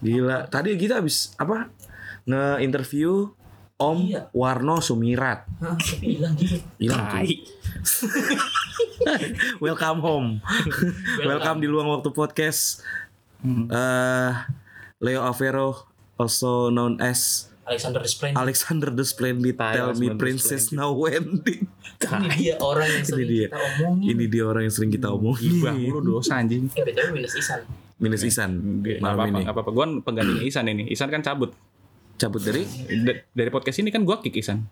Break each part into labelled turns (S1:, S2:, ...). S1: Gila. Tadi kita habis apa? Nge-interview Om
S2: Iya.
S1: Warno Sumirat.
S2: Hah, hilang gitu.
S1: Gila.
S3: Tai.
S1: Welcome home. Welcome, di luang waktu podcast.
S3: Hmm.
S1: Eh, Leo Avero also known as
S2: Alexander Desplein.
S1: Alexander the Splendid.
S3: Tai,
S1: Tell me
S3: Alexander the
S1: princess
S3: Splendid.
S1: now when did-
S2: Ini dia orang yang sering
S1: dia.
S2: kita omongin.
S1: Ini dia orang yang sering
S3: Hmm.
S1: kita omongin.
S3: Gibah mulu dosa anjing.
S2: Eh, BTW minus Isan.
S1: Minus Isan
S3: Nggak
S1: malam
S3: apa-apa,
S1: ini.
S3: nggak apa-apa. Gue penggantinya Isan ini. Isan kan cabut.
S1: Cabut dari
S3: D- dari podcast ini kan gue kick Isan.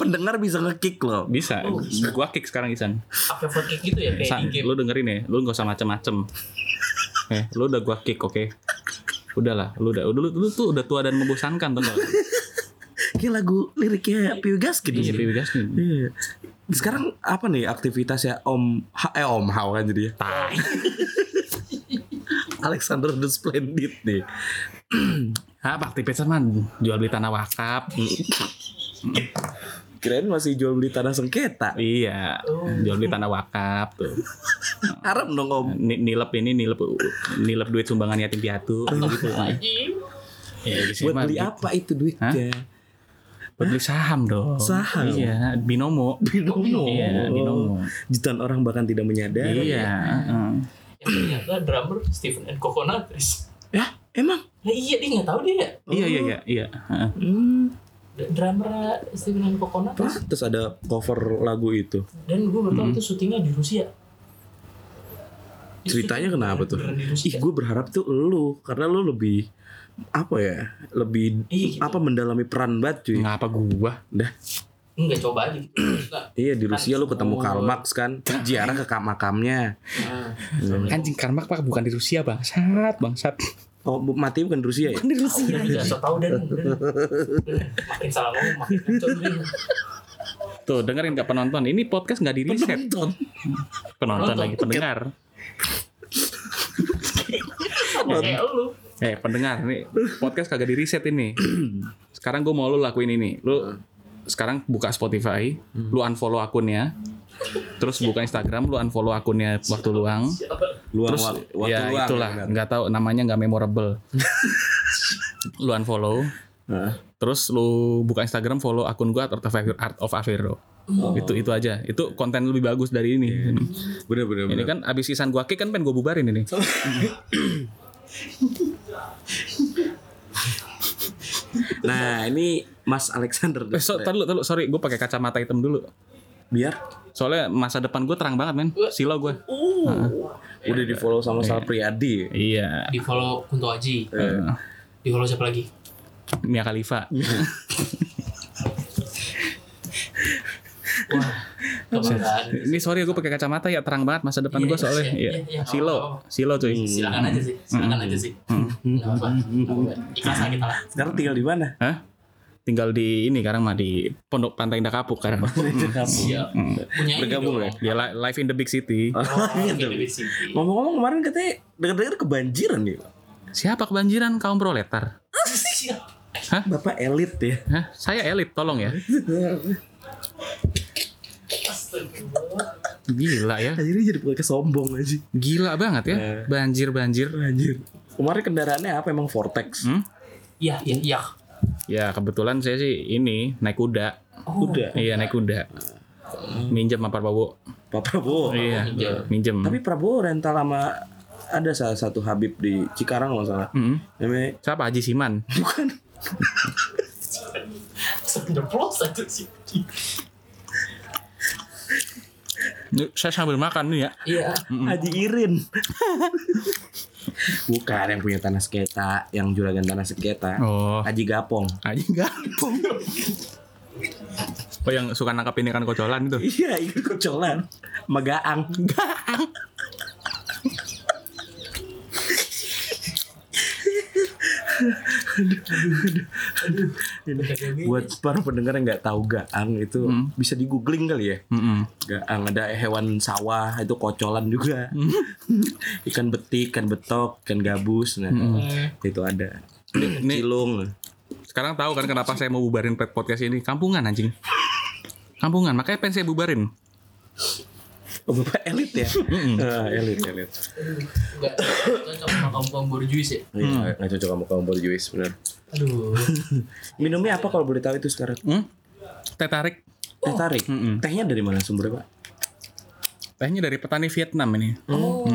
S1: pendengar bisa ngekick loh.
S3: Bisa.
S2: Oh, bisa.
S3: Gue kick sekarang Isan.
S2: Apa kayak gitu ya kayak
S3: San,
S2: di game.
S3: lu dengerin ya. Lu nggak usah macem-macem. Eh, lu udah gue kick, oke? Udahlah, lu udah, lu, lu tuh udah tua dan membosankan tuh.
S1: Kayak lagu liriknya Piu Gaskin sih.
S3: Iya, Pipi Gaskin.
S1: Iya. Sekarang apa nih aktivitasnya Om Ha- eh Om Hao kan jadi ya. Alexander the Splendid nih.
S3: Apa aktivitas man? Jual beli tanah wakaf.
S1: Kirain masih jual beli tanah sengketa.
S3: iya, jual beli tanah wakaf tuh.
S1: Arab dong Om.
S3: Ni- nilep ini nilep nilep duit sumbangan yatim piatu gitu.
S2: Anjing.
S3: Ya, di sini
S1: Buat
S3: mah
S1: beli
S3: gitu.
S1: apa itu duitnya?
S3: Buat beli saham dong.
S1: Saham.
S3: Iya, binomo.
S1: Binomo.
S3: Iya, binomo.
S1: Jutaan orang bahkan tidak menyadari.
S3: Iya. heeh.
S2: Yang ternyata drummer Stephen and Coconutris.
S1: Ya, emang.
S2: Nah iya dia nggak tahu dia.
S3: Iya, iya, iya, iya. heeh.
S1: Hmm,
S2: D- Drummer Stephen and Coconutris.
S1: terus ada cover lagu itu.
S2: Dan gue
S1: Hmm.
S2: bertahu itu syutingnya di Rusia. Itu
S1: Ceritanya
S2: syuting
S1: kenapa tuh?
S2: beneran Di Rusia.
S1: Ih, gue berharap tuh lu karena lu lebih apa ya? Lebih
S2: Iya, gitu.
S1: apa mendalami peran banget cuy.
S3: Ngapa gua?
S1: Dah.
S2: Enggak coba aja. gitu. Nah,
S1: Iya di Rusia lu ketemu
S3: Oh.
S1: Karl Marx kan Ziarah ke kam- makamnya
S2: nah.
S3: Anjing karmak pak bukan di Rusia bangsat bangsat.
S1: Oh bu- mati bukan di Rusia ya?
S3: Bukan di
S2: Aku
S3: Rusia.
S2: udah tidak so tau dan dan- dan makin salah ngomong makin kacau dia.
S3: Tuh dengerin nggak penonton? Ini podcast nggak di riset.
S1: Penonton
S3: Penonton
S2: Penonton.
S3: lagi pendengar.
S2: Sama kayak lu.
S3: Eh pendengar nih podcast kagak di riset ini. Sekarang gua mau lu lakuin ini. Lu sekarang buka Spotify, lu unfollow akunnya. Terus buka Instagram, lu unfollow akunnya waktu luang.
S2: Siapa?
S1: Luang
S3: Terus
S1: wak- waktu
S3: ya
S1: luang,
S3: itulah
S1: benar.
S3: nggak tahu namanya nggak memorable. lu unfollow.
S1: Heeh.
S3: Terus lu buka Instagram follow akun gua Art of Avero. Art of Avero. Itu itu aja. Itu konten lebih bagus dari ini.
S1: Bener bener
S3: Ini
S1: bener
S3: kan abis isan gua kick kan pengen gua bubarin ini.
S1: Nah ini Mas Alexander
S3: Eh, so, tar dulu, tar dulu. sorry, gua pakai kacamata hitam dulu.
S1: Biar
S3: Soalnya masa depan gua terang banget, men. Silau gua. Ya,
S1: udah di follow sama Sal Priadi
S3: Iya.
S2: Di follow Kunto Aji.
S3: Eh,
S2: Di follow siapa lagi?
S3: Mia Khalifa.
S2: Kebanggaan.
S3: Ini sorry gua pakai kacamata ya terang banget masa depan
S2: Iya,
S3: gua
S2: iya,
S3: soalnya.
S2: iya,
S3: Iya.
S2: iya, iya.
S3: Silau, silau cuy.
S2: Silakan aja sih. Silakan aja sih. Nggak apa-apa. Nggak apa-apa. Ikhlas lah kita lah.
S1: Sekarang tinggal di mana?
S3: Hah? Tinggal di ini sekarang mah di Pondok Pantai Indah Kapuk sekarang.
S2: Siap. Punya ini
S1: Hmm. Bergabung
S2: dong.
S1: ya?
S3: Dia li- live in the big city.
S2: Oh, Philip City.
S1: Ngomong-ngomong kemarin katanya Dengar-dengar kebanjiran ya
S3: Siapa kebanjiran kaum proletar?
S2: Siap.
S1: Bapak elit ya
S3: Hah? Saya elit, tolong ya.
S2: Astagfirullah.
S3: Gila ya.
S1: Akhirnya jadi pakai sombong aja
S3: Gila banget ya.
S1: Iya.
S3: Banjir-banjir.
S1: Anjir Kemarin kendaraannya apa emang Vortex?
S3: Hmm?
S2: Iya, iya, iya.
S3: Ya kebetulan saya sih ini naik kuda.
S2: Oh,
S1: Udah
S3: Iya naik kuda. Minjem sama Pak Prabowo.
S1: Pak Prabowo
S3: Iya,
S2: minjem.
S3: minjem.
S1: Oh, Tapi Prabowo rental sama Ada salah satu Habib di Cikarang kalau nggak salah
S3: Mm-mm.
S1: Namanya
S3: Hmm? Siapa Haji Siman?
S2: Senyeplos aja sih.
S3: Yuk, Saya sambil makan nih ya.
S2: Iya.
S1: Haji Irin. Bukan yang punya tanah seketa, yang juragan tanah seketa.
S3: Oh,
S1: Haji Gapong.
S3: Haji enggak. Oh yang suka nangkap ini kan kocolan itu.
S1: Iya, itu kocolan. Megaang. Buat para pendengar yang nggak tahu gaang itu bisa di googling kali ya.
S3: Mm-mm.
S1: Gaang ada hewan sawah itu kocolan juga. ikan betik, ikan betok, ikan gabus. Nah,
S2: Mm.
S1: itu ada.
S3: Ini
S1: Cilung.
S3: sekarang tahu kan kenapa saya mau bubarin pet podcast ini? Kampungan anjing. Kampungan, makanya pengen saya bubarin.
S1: Oh, bapak elit ya? Ah, elit, elit.
S2: Enggak cocok sama kaum-kaum borjuis ya.
S1: Iya, nggak- nggak cocok sama kaum borjuis benar.
S2: Aduh.
S1: Minumnya apa kalau boleh tahu itu sekarang?
S3: Hmm? Teh tarik.
S1: Teh tarik. Tehnya dari mana sumbernya, Pak?
S3: Tehnya dari petani Vietnam ini.
S2: Oh.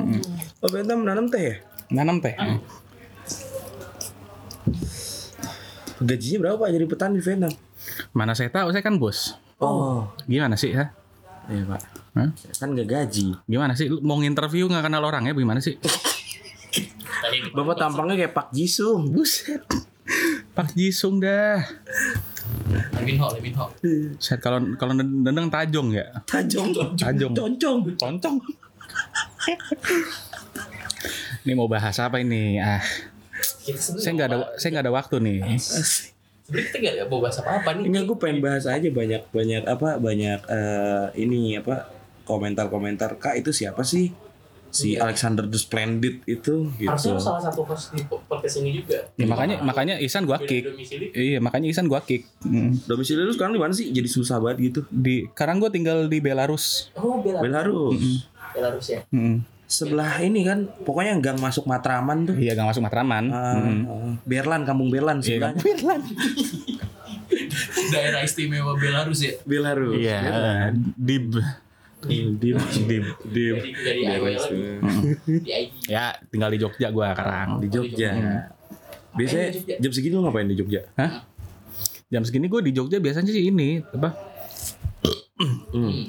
S1: Oh, Vietnam menanam teh ya?
S3: Nanam teh.
S1: Gajinya berapa Pak jadi petani di Vietnam?
S3: Mana saya tahu, saya kan bos.
S1: Oh,
S3: Gimana sih ya?
S1: iya Pak.
S3: Hah?
S1: Kan nggak gaji.
S3: Gimana sih? Lu mau nginterview nggak kenal orangnya bagaimana sih?
S2: Tadi
S1: Bapak tampangnya kayak Pak Jisung.
S3: Buset. Pak Jisung dah.
S2: Lemin Ho, Lemin Ho.
S3: Set kalau kalau nendang tajong ya.
S1: Tajong.
S3: Tajong.
S1: Concong.
S3: Concong. ini mau bahas apa ini? Ah,
S2: Kita sebenarnya
S3: saya nggak ada
S2: mau-
S3: saya nggak ada waktu nih.
S2: Sebenarnya kita nggak ada mau bahas apa-apa nih.
S1: Enggak, gue pengen bahas aja banyak banyak apa banyak eh, ini apa komentar-komentar kak itu siapa sih si Alexander the Splendid itu gitu.
S2: Harusnya salah satu host di po- podcast ini juga.
S3: Ya, makanya makanya Isan gua
S2: Beda
S3: kick.
S2: domisili.
S3: Iya, makanya Isan gua kick. Mm.
S1: Domisili lu sekarang di mana sih? Jadi susah banget gitu.
S3: Di sekarang gua tinggal di Belarus.
S2: Oh,
S1: Iya.
S2: Belarus.
S1: Belarus.
S2: Belarus ya.
S3: Mm.
S1: Sebelah ini kan pokoknya gang masuk Matraman tuh.
S3: Iya, gak masuk Matraman.
S1: Ah,
S3: Mm.
S1: ah, Berlan, kampung Berlan
S3: Iya,
S1: sebelahnya.
S2: Daerah istimewa Belarus ya.
S1: Belarus.
S3: Iya, dib.
S1: Dib, dib,
S3: Iya.
S1: dib.
S2: Jadi dari IW lagi. Di ID.
S3: Ya, tinggal di Jogja gua sekarang.
S1: Di Jogja. Biasanya
S2: Di Jogja.
S1: jam segini lu ngapain di Jogja?
S3: Hah? Jam segini gue di Jogja biasanya sih ini apa?
S1: Hmm.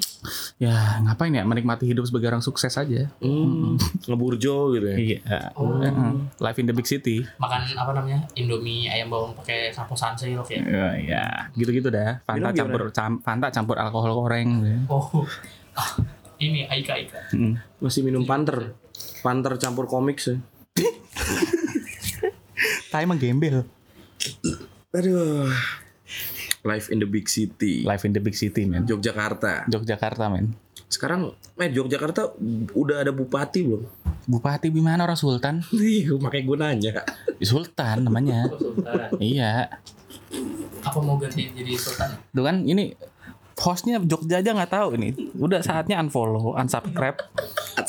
S3: Ya ngapain ya menikmati hidup sebagai orang sukses aja.
S1: Hmm. Ngeburjo gitu ya.
S3: Iya.
S2: Oh.
S3: Heeh. Life in the big city.
S2: Makan apa namanya? Indomie ayam bawang pakai sapo sansei oke.
S3: Eh, ya, gitu-gitu dah.
S1: Minum
S3: Fanta
S1: gimana?
S3: campur cam- Fanta campur alkohol goreng. gitu.
S2: Oh. Ah, ini Aika Aika.
S3: Mm.
S1: Masih minum
S2: Iya.
S1: panter. Panter campur komik sih.
S3: Tai emang gembel.
S1: Aduh. Life in the big city.
S3: Life in the big city, men.
S1: Yogyakarta.
S3: Yogyakarta, men.
S1: Sekarang eh Yogyakarta udah ada bupati belum?
S3: Bupati Bimana orang Sultan?
S1: Nih, makanya gue nanya.
S3: Sultan namanya.
S2: Oh, Sultan.
S3: iya.
S2: Apa mau ganti jadi sultan?
S3: Tuh kan ini hostnya Jogja aja nggak tahu ini. Udah saatnya unfollow, unsubscribe.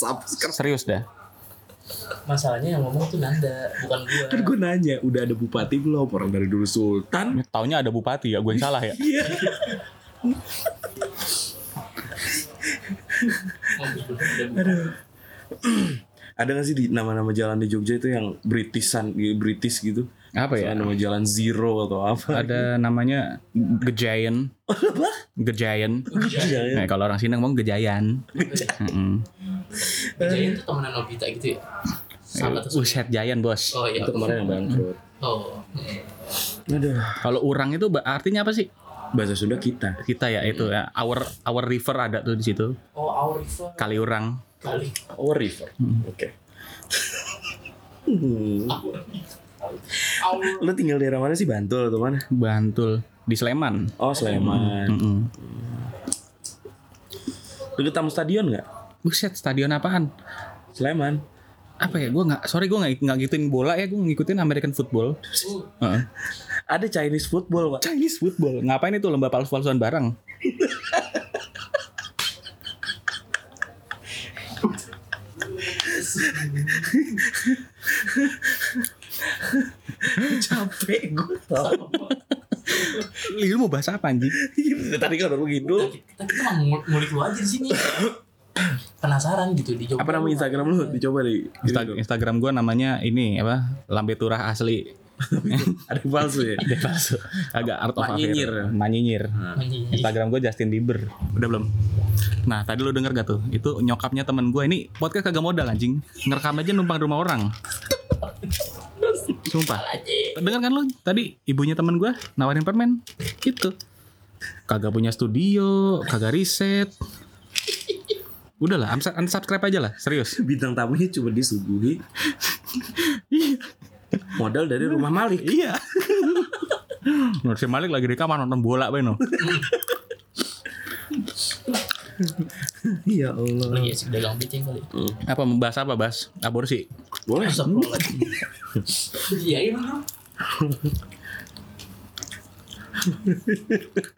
S1: Subscribe.
S3: Serius dah.
S2: Masalahnya yang ngomong tuh Nanda, bukan gua.
S1: Kan gue nanya, udah ada bupati belum? Orang dari dulu sultan.
S3: Ini Taunya ada bupati ya, gue yang salah ya.
S1: Iya.
S2: Ngomong bener-bener.
S1: ada gak sih di nama-nama jalan di Jogja itu yang Britishan, British gitu?
S3: Apa ya?
S1: Misalnya Nama jalan Zero atau apa?
S3: Ada namanya Gejayan. Gejayan.
S1: Jangan.
S3: Nah, kalau orang sini ngomong Gejayan. Mm-mm.
S2: Jaya itu temenan Nobita gitu ya. Sama tuh.
S3: Uset Jayan, Bos.
S2: Oh iya.
S1: Itu kemarin yang bangkrut.
S2: Oh. mm.
S1: Aduh.
S3: Kalau orang itu ba- artinya apa sih?
S1: Bahasa Sunda kita.
S3: Kita ya itu ya. Our our river ada tuh di situ.
S2: Oh, Aurifa
S3: Kali orang.
S2: kali.
S1: Our river. Oke. Hmm.
S2: Aur.
S1: Lu tinggal daerah mana sih Bantul atau mana?
S3: Bantul di Sleman.
S1: Oh Sleman.
S3: Mm-mm.
S1: Lu ketemu stadion nggak?
S3: Buset, stadion apaan?
S1: Sleman.
S3: Apa ya? Gua nggak sorry gua nggak nggak ngikutin bola ya, gua ngikutin American football.
S2: Uh,
S3: Heeh.
S1: Ada Chinese football pak.
S3: Chinese football. Ngapain itu lomba palsu-palsuan barang?
S1: Capek gue.
S3: Lu mau bahas apa anjing?
S1: Tadi kan udah begitu.
S2: kita, kita, kita mah ngul- ngulik lu aja di sini. Penasaran gitu di Jogja.
S1: Apa nama Instagram lu? Dicoba deh.
S3: Insta- Instagram gua namanya ini apa? Lambe Turah asli.
S1: Ada yang palsu ya.
S3: Dia palsu. Agak art of
S1: Manyinyir.
S3: affair. Manyinyir.
S2: Anjing.
S3: Instagram gue Justin Bieber. Udah belum? Nah, tadi lu denger gak tuh? Itu nyokapnya temen gue ini podcast kagak modal anjing. Ngerekam aja numpang rumah orang. Sumpah.
S2: Anjing.
S3: Dengar kan lu tadi ibunya temen gue nawarin permen. Itu. Kagak punya studio, kagak riset. Udahlah, unsu- unsubscribe aja lah, serius.
S1: Bintang tamunya cuma disuguhi modal dari rumah Malik.
S3: Iya. Nur si Malik lagi di kamar nonton bola Beno.
S1: Ya
S2: Lu
S1: Allah.
S2: lagi asik dagang pitching kali.
S3: Apa membahas apa, Bas? Aborsi.
S1: Boleh.
S2: Iya, iya bener.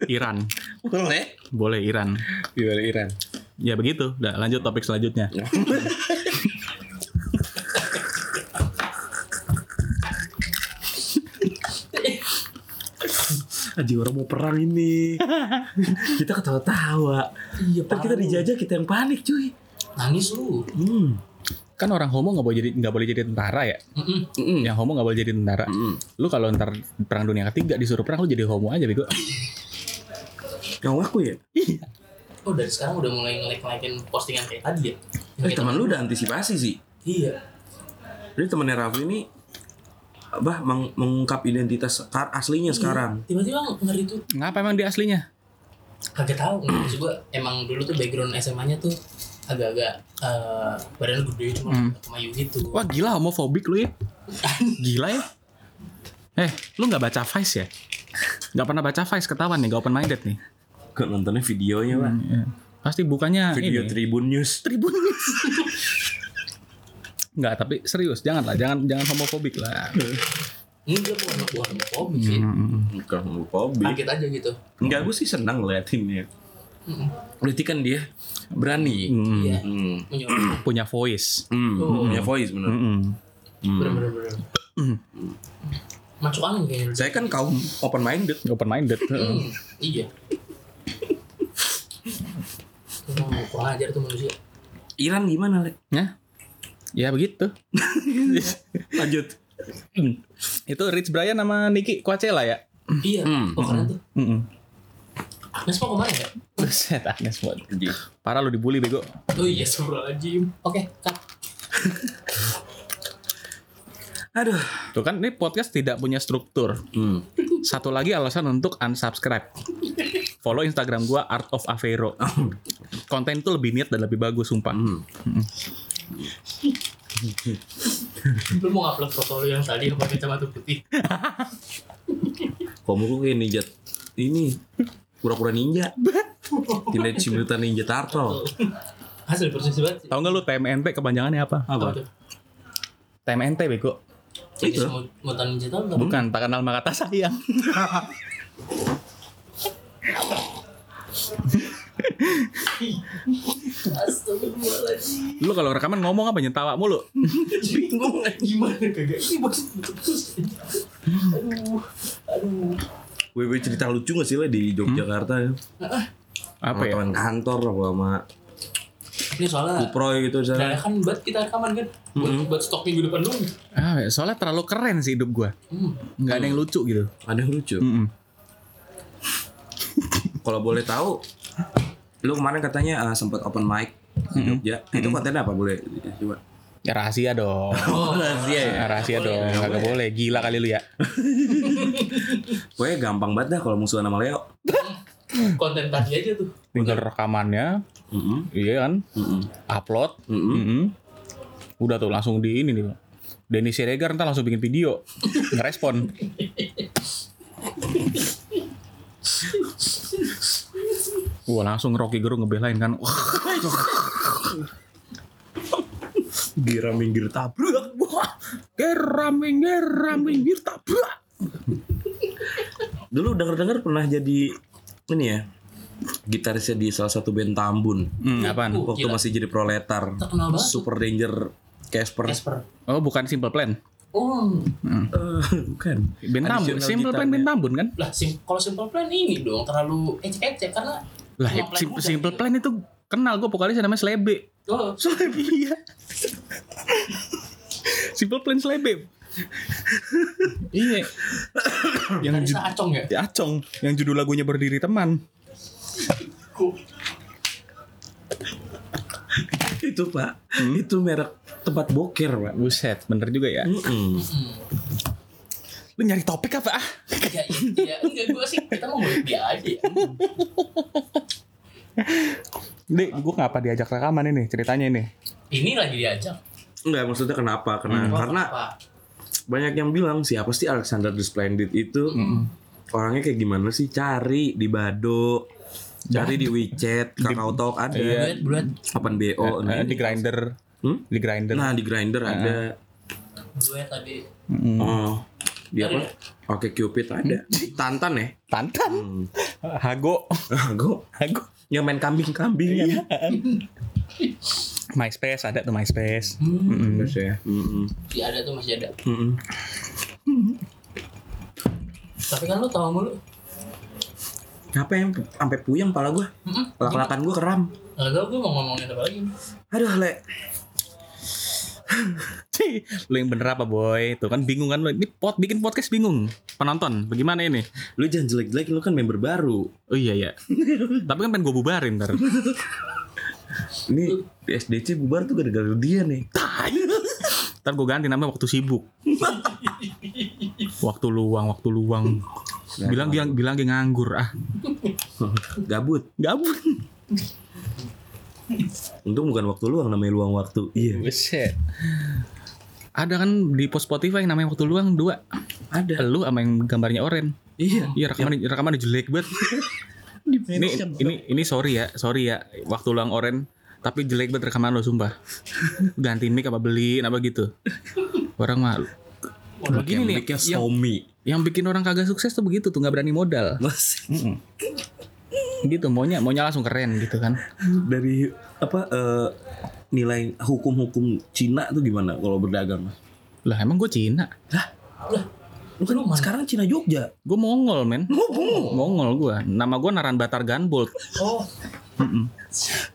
S3: Iran.
S1: Boleh.
S3: Boleh Iran.
S1: Gimana Iran?
S3: Ya begitu. Udah lanjut topik selanjutnya.
S1: Aji orang mau perang ini. kita ketawa-tawa.
S2: Iya,
S1: Ntar kita
S2: parah lu.
S1: dijajah kita yang panik cuy.
S2: Nangis lu.
S1: Hmm.
S3: Kan orang homo nggak boleh jadi nggak boleh jadi tentara ya.
S2: Mm-mm.
S3: Yang homo nggak boleh jadi tentara. Lu kalau ntar perang dunia ketiga disuruh perang lu jadi homo aja bego.
S1: Yang aku ya.
S2: Oh dari sekarang udah mulai ngelek-ngelekin postingan kayak tadi ya?
S1: Eh, teman lu udah antisipasi sih.
S2: Iya.
S1: Jadi temennya Rafli ini bah meng- mengungkap identitas sekar-
S3: Iya.
S1: aslinya sekarang.
S2: Tiba-tiba ngeri tuh
S3: Ngapa emang dia aslinya?
S2: kagak tahu nggak, maksud gue emang dulu tuh background SMA-nya tuh agak-agak eh, badan gede cuma kemayu gitu
S3: Wah gila homofobik lu ya. Gila ya. Eh, lu nggak baca Vice ya? Nggak pernah baca Vice ketahuan nih, nggak open minded nih.
S1: Gak nontonnya videonya pak.
S3: Iya. Pasti bukannya
S1: Video
S3: Nah, ini. ya.
S1: Tribun News.
S3: Tribun News. Nggak, tapi serius, janganlah, jangan jangan homofobik lah.
S2: ini gue bukan bukan homofobi sih
S1: Bukan homofobi.
S2: kaget aja gitu
S1: Enggak, gue sih senang ngeliatinnya. Berarti kan dia berani.
S2: iya
S1: Hmm.
S2: menyorak
S3: Punya voice.
S1: Hmm.
S2: Oh.
S1: Punya voice bener.
S3: Mm-mm.
S2: bener-bener bener
S1: Hmm.
S2: masuk angin kayaknya lu.
S1: Saya kan kaum open minded.
S3: Open minded.
S2: Hmm, iya Emang kurang ajar tuh manusia
S1: Iran gimana, Le?
S3: Ya. Ya begitu.
S1: Lanjut.
S3: Itu Rich Brian sama Nicky Coachella ya?
S2: Iya
S1: Hmm.
S2: Oh keren tuh
S3: Mm-mm.
S2: Agnes mau kemana ya?
S3: Buset, Agnes buat. Parah lu dibully bego.
S2: Oh iya Astagfirullahaladzim Oke Kak
S1: Aduh.
S3: Tuh kan ini podcast tidak punya struktur.
S1: Hmm.
S3: Satu lagi alasan untuk unsubscribe. Follow Instagram gua Art of Aveiro. Konten itu lebih niat dan lebih bagus sumpah.
S2: Hmm. Lu mau upload foto lu yang tadi Apa kacamata putih
S1: Kamu kok kayak ninja ini pura-pura ninja. Tidak cimutan ninja turtle.
S2: Hasil persis banget sih.
S3: Tahu nggak lu TMNT kepanjangannya apa?
S2: Apa tuh?
S3: TMNT bego.
S1: Itu.
S2: Itu mau tanya jatah nggak?
S3: Bukan tak kenal maka tak sayang.
S2: Astagfirullahaladzim
S3: Lu kalau rekaman ngomong apa nyentawa mulu?
S2: Bingung kan gimana kagak Ini maksud Aduh Aduh
S1: Gue cerita lucu gak sih Le di Yogyakarta ya? Sama
S3: Apa ya?
S1: teman kantor apa sama
S2: Ini soalnya
S1: Kuproy gitu
S2: Nah,
S1: misalnya.
S2: kan buat kita rekaman kan buat, buat stok minggu depan dong
S3: Ah, soalnya terlalu keren sih hidup gua.
S2: hmm.
S3: Nggak ada yang lucu gitu.
S1: Ada yang lucu.
S3: Mm-mm.
S1: Kalau boleh tahu lu kemarin katanya eh, sempat open mic di Jogja. Itu kontennya apa boleh coba?
S3: Ya rahasia dong.
S2: Oh, rahasia Oh, iya,
S3: Ya, rahasia dong. Kagak boleh. Gila kali lu ya.
S1: Pokoknya gampang banget dah kalau musuhan sama Leo.
S2: Konten tadi aja tuh
S3: Tinggal rekamannya,
S1: Heeh.
S3: iya kan? Upload. Mm-mm. Udah tuh langsung di ini nih. Denny Siregar ntar langsung bikin video ngerespon. Wah langsung Rocky Gerung ngebelain kan. Wah,
S1: Gira minggir tabrak.
S3: wah, geram, geram, minggir tabrak.
S1: Dulu denger-denger pernah jadi ini ya. Gitarisnya di salah satu band Tambun.
S3: Hmm, apaan?
S2: Oh,
S1: Waktu
S2: gila.
S1: masih jadi proletar.
S2: Terkenal banget
S1: Super Danger Casper.
S2: Casper
S3: Oh bukan Simple Plan.
S2: Oh
S1: Eh, bukan.
S3: Ben Tambun.
S1: Additional
S3: Simple Plan Ben
S1: gitarnya.
S3: Tambun kan?
S2: Lah sim kalau simple plan ini dong Terlalu ecek-ecek Karena
S3: Lah
S2: Simple Plan
S3: Sim-
S2: udah
S3: Simple
S2: gitu.
S3: Plan itu kenal gue vokalisnya namanya Slebe.
S2: Oh,
S3: Slebe iya. Simple Plan Slebe. iya. yang
S2: Tarisa
S3: judul
S2: Acong ya?
S3: Acong, yang judul lagunya berdiri teman.
S2: Ku-
S1: Itu, Pak. Itu merek tempat boker, Pak.
S3: Buset, bener juga ya.
S1: Mm-mm.
S3: Lu nyari topik apa ah?
S2: Ya, ya, enggak gue sih kita mau ngeliat dia aja. ya.
S3: Dek, gue ngapa diajak rekaman ini ceritanya ini?
S2: Ini lagi diajak.
S1: Enggak, maksudnya kenapa? Karena
S2: Hmm.
S1: karena
S2: Apa?
S1: banyak yang bilang siapa sih Alexander the Splendid itu orangnya kayak gimana sih? Cari di Bado, cari di WeChat, Kakao Talk ada,
S2: Bulat, bulat.
S1: 8BO.
S3: Iya. Eh,
S1: Nah,
S3: di Eh, grinder,
S1: Hmm?
S3: di grinder.
S1: nah, di Grinder ada.
S2: Duet tadi.
S3: Mm.
S1: Oh, di apa? Oke Cupid ada. Tantan ya?
S3: Tantan, Hago,
S1: Gue
S3: Hago.
S4: yang main
S1: kan?
S4: kambing-kambingan.
S3: Iya. MySpace ada tuh MySpace.
S4: Terus ya.
S1: Mm-mm.
S2: Ya Hmm, ada tuh masih ada.
S4: Mm-mm.
S2: Tapi kan lu tahu mulu.
S4: Apa yang sampai puyeng pala gua?
S2: Heeh.
S4: Lak-lakan gua keram.
S2: Lalu gue mau ngomongin apa lagi? nih?
S4: Aduh, Le.
S3: Cih, lu yang bener apa boy? Tuh kan bingung kan lu. Ini pot bikin podcast bingung. Penonton, bagaimana ini?
S1: Lu jangan jelek-jelek lu kan member baru.
S3: Oh iya ya. Tapi kan pengen gue bubarin ntar.
S1: Ini di SDC bubar tuh gara-gara dia nih.
S3: Ntar gue ganti namanya waktu sibuk. waktu luang, waktu luang. Bilang dia bilang dia nganggur ah.
S1: Gabut.
S3: Gabut.
S1: Untung bukan waktu luang namanya luang waktu. Iya.
S3: Buset. Ada kan di post Spotify yang namanya waktu luang dua. Ada. Lu sama yang gambarnya oren.
S1: Iya.
S3: Iya rekaman rekaman jelek banget. ini ini ini sorry ya, sorry ya. Waktu luang oren tapi jelek banget rekaman lo sumpah. Ganti mic apa beliin apa gitu. Orang mah begini nih
S1: Mic-nya
S3: yang,
S1: Xiaomi.
S3: yang bikin orang kagak sukses tuh begitu tuh nggak berani modal.
S1: Mas
S3: Gitu maunya maunya langsung keren gitu kan.
S1: dari apa eh, nilai hukum-hukum Cina tuh gimana kalau berdagang?
S3: Lah emang gue Cina.
S1: Lu kan
S2: Lu mana?
S1: sekarang Cina Jogja.
S3: Gue Mongol men. Mongol gue. Nama gue Naran Batar Ganbolt.
S2: Oh,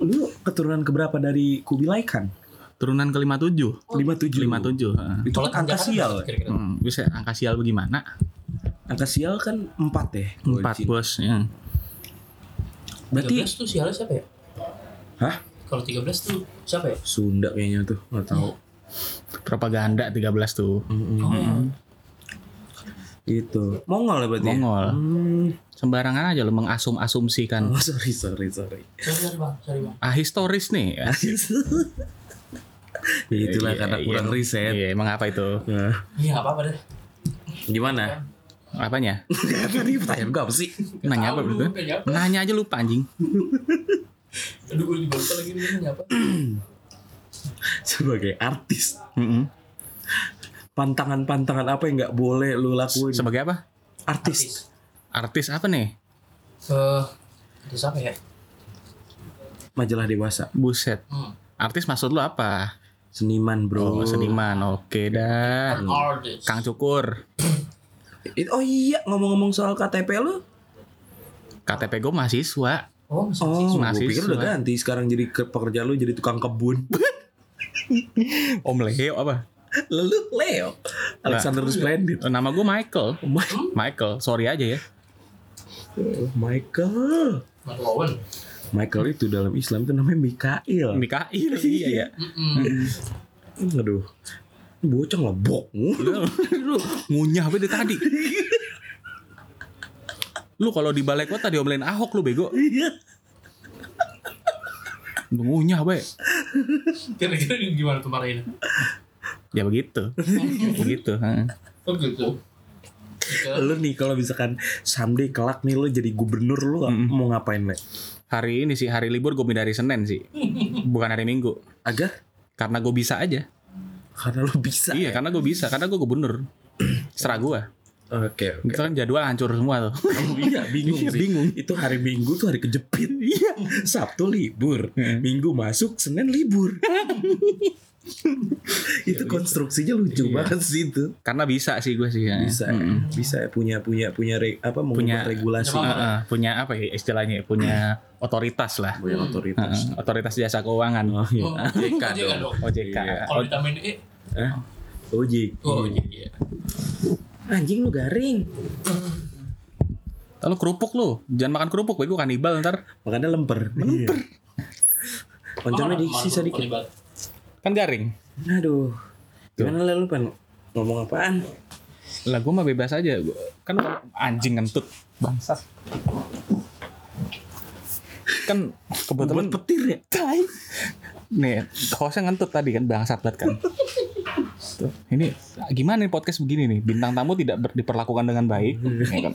S1: Lu keturunan keberapa dari Kubilai Khan?
S3: Turunan ke 57.
S1: 57.
S3: 57. heeh.
S1: Itu kan angka sial.
S2: Kira-kira.
S3: Hmm, bisa angka sial bagaimana?
S1: Angka sial kan 4 ya. kalau di
S3: Empat
S1: Cina.
S3: bos. Ya.
S1: Berarti
S2: 13 tuh sialnya siapa ya?
S1: Hah?
S2: Kalau 13 tuh siapa ya?
S1: Sunda kayaknya tuh, nggak tahu.
S3: Propaganda 13 tuh.
S1: Hmm.
S2: Oh,
S1: Gitu. Mongol ya berarti. ya?
S3: Mongol.
S1: Hmm.
S3: Sembarangan aja lo mengasum-asumsikan.
S1: Oh, sorry, sorry, sorry.
S2: sorry, sorry bang, sorry bang.
S3: Ah historis nih. Ya,
S1: ya itulah
S3: iya,
S1: karena
S3: iya.
S1: kurang riset.
S3: Iya, emang apa itu?
S1: Nah,
S2: Iya nggak apa-apa deh.
S1: gimana?
S3: Apanya?
S1: Tadi pertanyaan gue apa sih?
S3: Nanya apa
S2: Tahu,
S3: begitu?
S2: nanya apa?
S3: Nanya aja lupa anjing.
S2: Aduh, gue dibaca lagi nih nanya apa?
S1: Sebagai artis,
S3: Mm-mm.
S1: pantangan-pantangan apa yang nggak boleh lu lakuin?
S3: Sebagai apa?
S1: artis.
S3: Artis apa nih?
S2: Eh, itu siapa ya?
S1: Majalah dewasa.
S3: Buset.
S2: Hmm.
S3: Artis maksud lu apa?
S1: Seniman, bro.
S3: Oh, seniman. Oke dah.
S2: An artist.
S3: Kang Cukur.
S1: It- Oh iya, ngomong-ngomong soal KTP lu.
S3: KTP gue mahasiswa.
S2: Oh, masih
S1: Oh,
S2: oh.
S1: gue
S3: Mahasiswa.
S1: pikir udah ganti. Sekarang jadi ke pekerja lu jadi tukang kebun.
S3: Om Leo Oh, apa?
S1: Lalu Leo. Alexander the Splendid.
S3: Nama gue Michael.
S1: Oh
S3: Michael. Sorry aja ya.
S1: Michael.
S2: Matt Owen.
S1: Oh Michael itu dalam Islam itu namanya Mikail.
S3: Mikail. Iya ya.
S2: Mm-mm.
S1: Aduh. Bocah ngebok.
S3: lu ngunyah apa dari tadi lu kalau di balai kota diomelin ahok lu bego
S1: Iya.
S3: Lu ngunyah be
S2: Kira-kira gimana tuh marahinnya?
S3: ya begitu begitu heeh.
S2: Oh gitu. Kira-
S1: Lu nih kalau misalkan someday kelak nih lu jadi gubernur lu mau ngapain, Le?
S3: hari ini sih hari libur gue pindah dari senin sih bukan hari minggu
S1: Agar
S3: karena gue bisa aja
S1: karena lu bisa.
S3: iya karena gue bisa karena gue gubernur serah gue
S1: Oke.
S3: itu kan jadwal hancur semua tuh
S1: iya, bingung sih.
S3: bingung.
S1: Itu hari Minggu tuh hari kejepit. Iya. Sabtu libur, Minggu masuk, Senin libur. itu konstruksinya lucu banget sih itu.
S3: karena bisa sih gue sih ya.
S1: Bisa, bisa punya punya punya re- apa
S3: Punya-
S1: mengubah regulasi.
S3: Heeh, heeh. punya apa ya istilahnya punya otoritas lah
S1: Punya otoritas.
S3: Heeh, otoritas jasa keuangan
S1: Oh, iya.
S2: Oh,
S1: OJK
S2: OJK
S1: dong.
S2: dong.
S3: OJK
S1: Iya.
S2: Kalau vitamin E,
S1: Hah? OJK.
S2: oh iya.
S1: Anjing lu garing.
S3: Lalu kerupuk lu, jangan makan kerupuk, bego kanibal ntar.
S1: Makanya lemper. Lemper.
S3: Iya.
S1: Oncomnya di sisa dikit.
S3: Kan garing.
S1: Aduh. Gimana Le, lu pengen ngomong apaan?
S3: Lah gua mah bebas aja. Gua- Kan anjing ngentut. Bangsat. Kan kebetulan
S1: petir ya?
S3: Tai. Nih, hostnya ngentut tadi kan bangsat banget kan. Tuh, ini gimana nih podcast begini nih? Bintang tamu tidak ber- diperlakukan dengan baik. ya kan?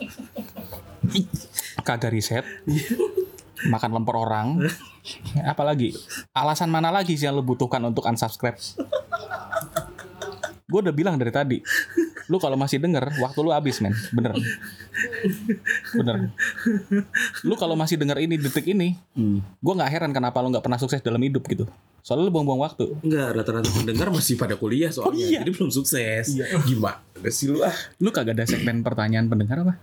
S3: Kagak riset. Makan lemper orang. Ya, Apalagi alasan mana lagi sih yang lo butuhkan untuk unsubscribe? Gue udah bilang dari tadi. Lu kalau masih denger, waktu lu habis, men. Bener. Bener. Lu kalau masih denger ini detik ini, gue nggak heran kenapa lu nggak pernah sukses dalam hidup gitu. Soalnya lu buang-buang waktu.
S1: Enggak, rata-rata pendengar masih pada kuliah
S3: Oh,
S1: soalnya.
S3: iya.
S1: Jadi belum sukses. Gimana sih lu ah?
S3: Lu kagak ada segmen pertanyaan pendengar apa?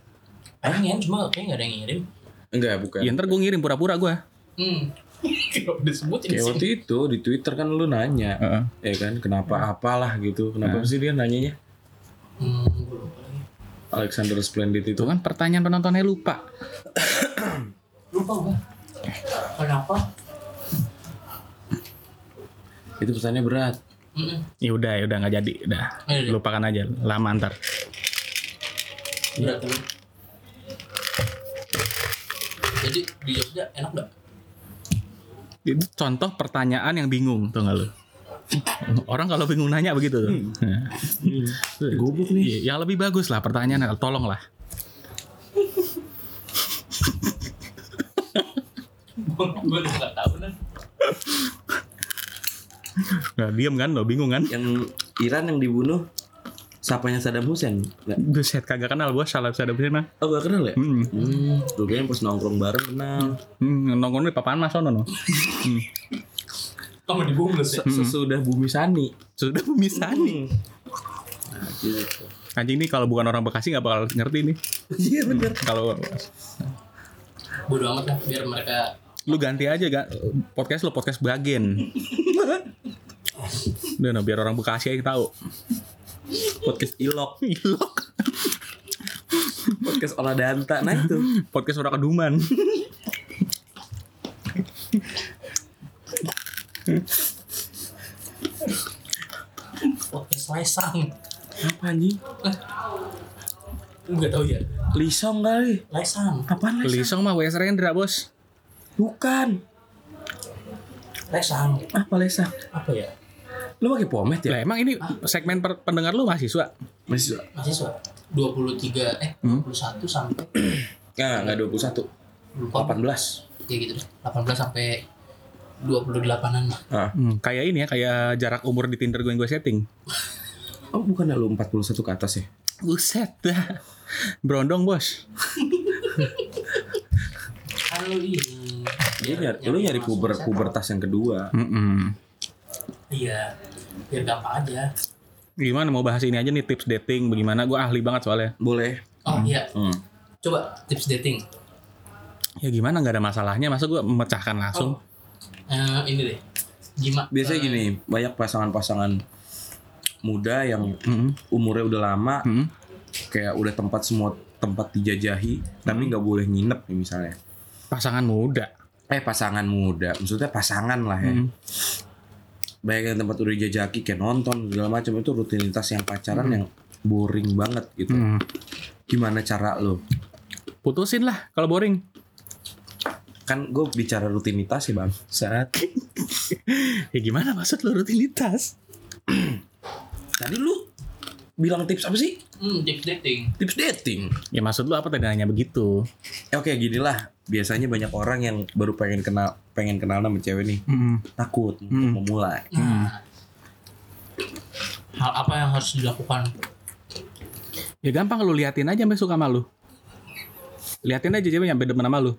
S2: Pengen cuma kayaknya nggak ada yang ngirim.
S1: Enggak, bukan.
S3: Ya ntar gue ngirim pura-pura gue.
S2: Hmm. Kalau disebutin
S3: Iya.
S1: Kayak
S2: sih.
S1: waktu itu di Twitter kan lu nanya, ya kan kenapa apalah gitu, kenapa sih dia nanyanya
S2: Hmm, gua lupa lagi.
S1: Alexander Splendid itu
S3: Itu kan pertanyaan penontonnya lupa.
S2: Lupa gua. Kenapa?
S1: itu pesannya berat.
S2: Mm-mm.
S3: Ya udah, ya udah nggak jadi, udah. Oh,
S2: Iya, iya.
S3: Lupakan aja, lama ntar.
S1: kan?
S2: Berat dulu. Jadi di Jogja enak nggak?
S3: Itu contoh pertanyaan yang bingung, tuh nggak lu? Orang kalau bingung nanya begitu tuh.
S1: Gubuk nih.
S3: Iya, Yang lebih bagus lah pertanyaan, tolong lah.
S2: Gue udah nggak tahu nih.
S3: Nah, diem kan lo, bingung kan?
S1: Yang Iran yang dibunuh sapanya Saddam Hussein. Nggak-
S3: Gue set kagak kenal gue, salah sadar mah.
S1: Oh, gak kenal ya?
S3: Hmm.
S1: Hmm, lu kayaknya pas nongkrong bareng kenal.
S3: Hmm, nongkrong di papan mas sono no.
S2: Kamu di Bumbles ya?
S1: Se- Sesudah Bumi Sani.
S3: Sudah pemisani.
S1: Nah, gitu.
S3: Anjing nih kalau bukan orang Bekasi nggak bakal ngerti nih.
S1: Iya bener.
S3: Kalau
S2: Bodo amat lah biar mereka
S3: lu ganti aja gak podcast lu podcast bagen. Udah no, biar orang Bekasi aja yang tahu.
S1: Podcast Ilok,
S3: Ilok.
S1: podcast Oladanta, nah itu.
S3: Podcast orang keduman.
S2: podcast Laisang.
S1: Apa anjing?
S2: Gue tahu ya.
S1: Lisong kali.
S2: Laisang.
S1: Apaan Lisong?
S3: Lisong mah WS Rendra, Bos.
S1: Bukan.
S2: Laisang.
S1: Apa Lesa?
S2: Apa ya?
S1: Lu pakai pomet ya?
S3: Lah emang ini segmen per- pendengar lu mahasiswa.
S1: Masih
S2: Mahasiswa. 23 eh
S1: Hmm?
S2: 21 sampai
S1: Enggak, enggak 21.
S2: lupa
S1: 18.
S2: ya gitu deh. 18 sampai 28-an lah.
S1: Ah.
S3: Hmm, kayak ini ya, kayak jarak umur di Tinder gue yang gue setting.
S1: Oh, bukan lu 41 ke atas ya?
S3: Buset dah. Brondong, Bos.
S2: Halo iya. ini.
S1: Lu
S2: Biar-
S1: nyari, Iya, lu nyari
S2: masuk
S1: puber,
S2: setan.
S1: puber tas yang kedua.
S3: Mm-mm.
S2: Iya. Biar gampang aja.
S3: Gimana mau bahas ini aja nih tips dating bagaimana? Gue ahli banget soalnya.
S1: Boleh.
S2: Oh iya.
S1: Hmm.
S2: Coba tips dating.
S3: Ya gimana nggak ada masalahnya, masa gue memecahkan langsung.
S2: Eh, ini deh. Gimana?
S1: Biasanya gini, banyak pasangan-pasangan muda yang
S3: Mm-mm.
S1: umurnya udah lama,
S3: Mm-mm.
S1: kayak udah tempat semua tempat dijajahi, tapi nggak boleh nginep nih misalnya.
S3: Pasangan muda.
S1: Eh pasangan muda, maksudnya pasangan lah ya.
S3: Mm.
S1: Banyak yang tempat udah dijajaki kayak nonton segala macam itu rutinitas yang
S3: Hmm.
S1: pacaran yang boring banget gitu.
S3: Mm.
S1: Gimana cara lo?
S3: Putusin lah kalau boring.
S1: Kan gue bicara rutinitas ya bang. Saat
S3: Ya gimana maksud lu rutinitas?
S1: tadi lu bilang tips apa sih?
S2: Hmm, tips dating.
S1: Tips dating.
S3: Ya maksud lu apa tadi nanya begitu?
S1: Ya, Oke gini lah, biasanya banyak orang yang baru pengen kenal pengen kenal sama cewek nih
S3: Mm.
S1: takut untuk
S3: Hmm.
S1: memulai.
S2: Nah, Hal apa yang harus dilakukan?
S3: Ya gampang lu liatin aja sampai suka sama lu. Liatin aja cewek sampai demen sama lu.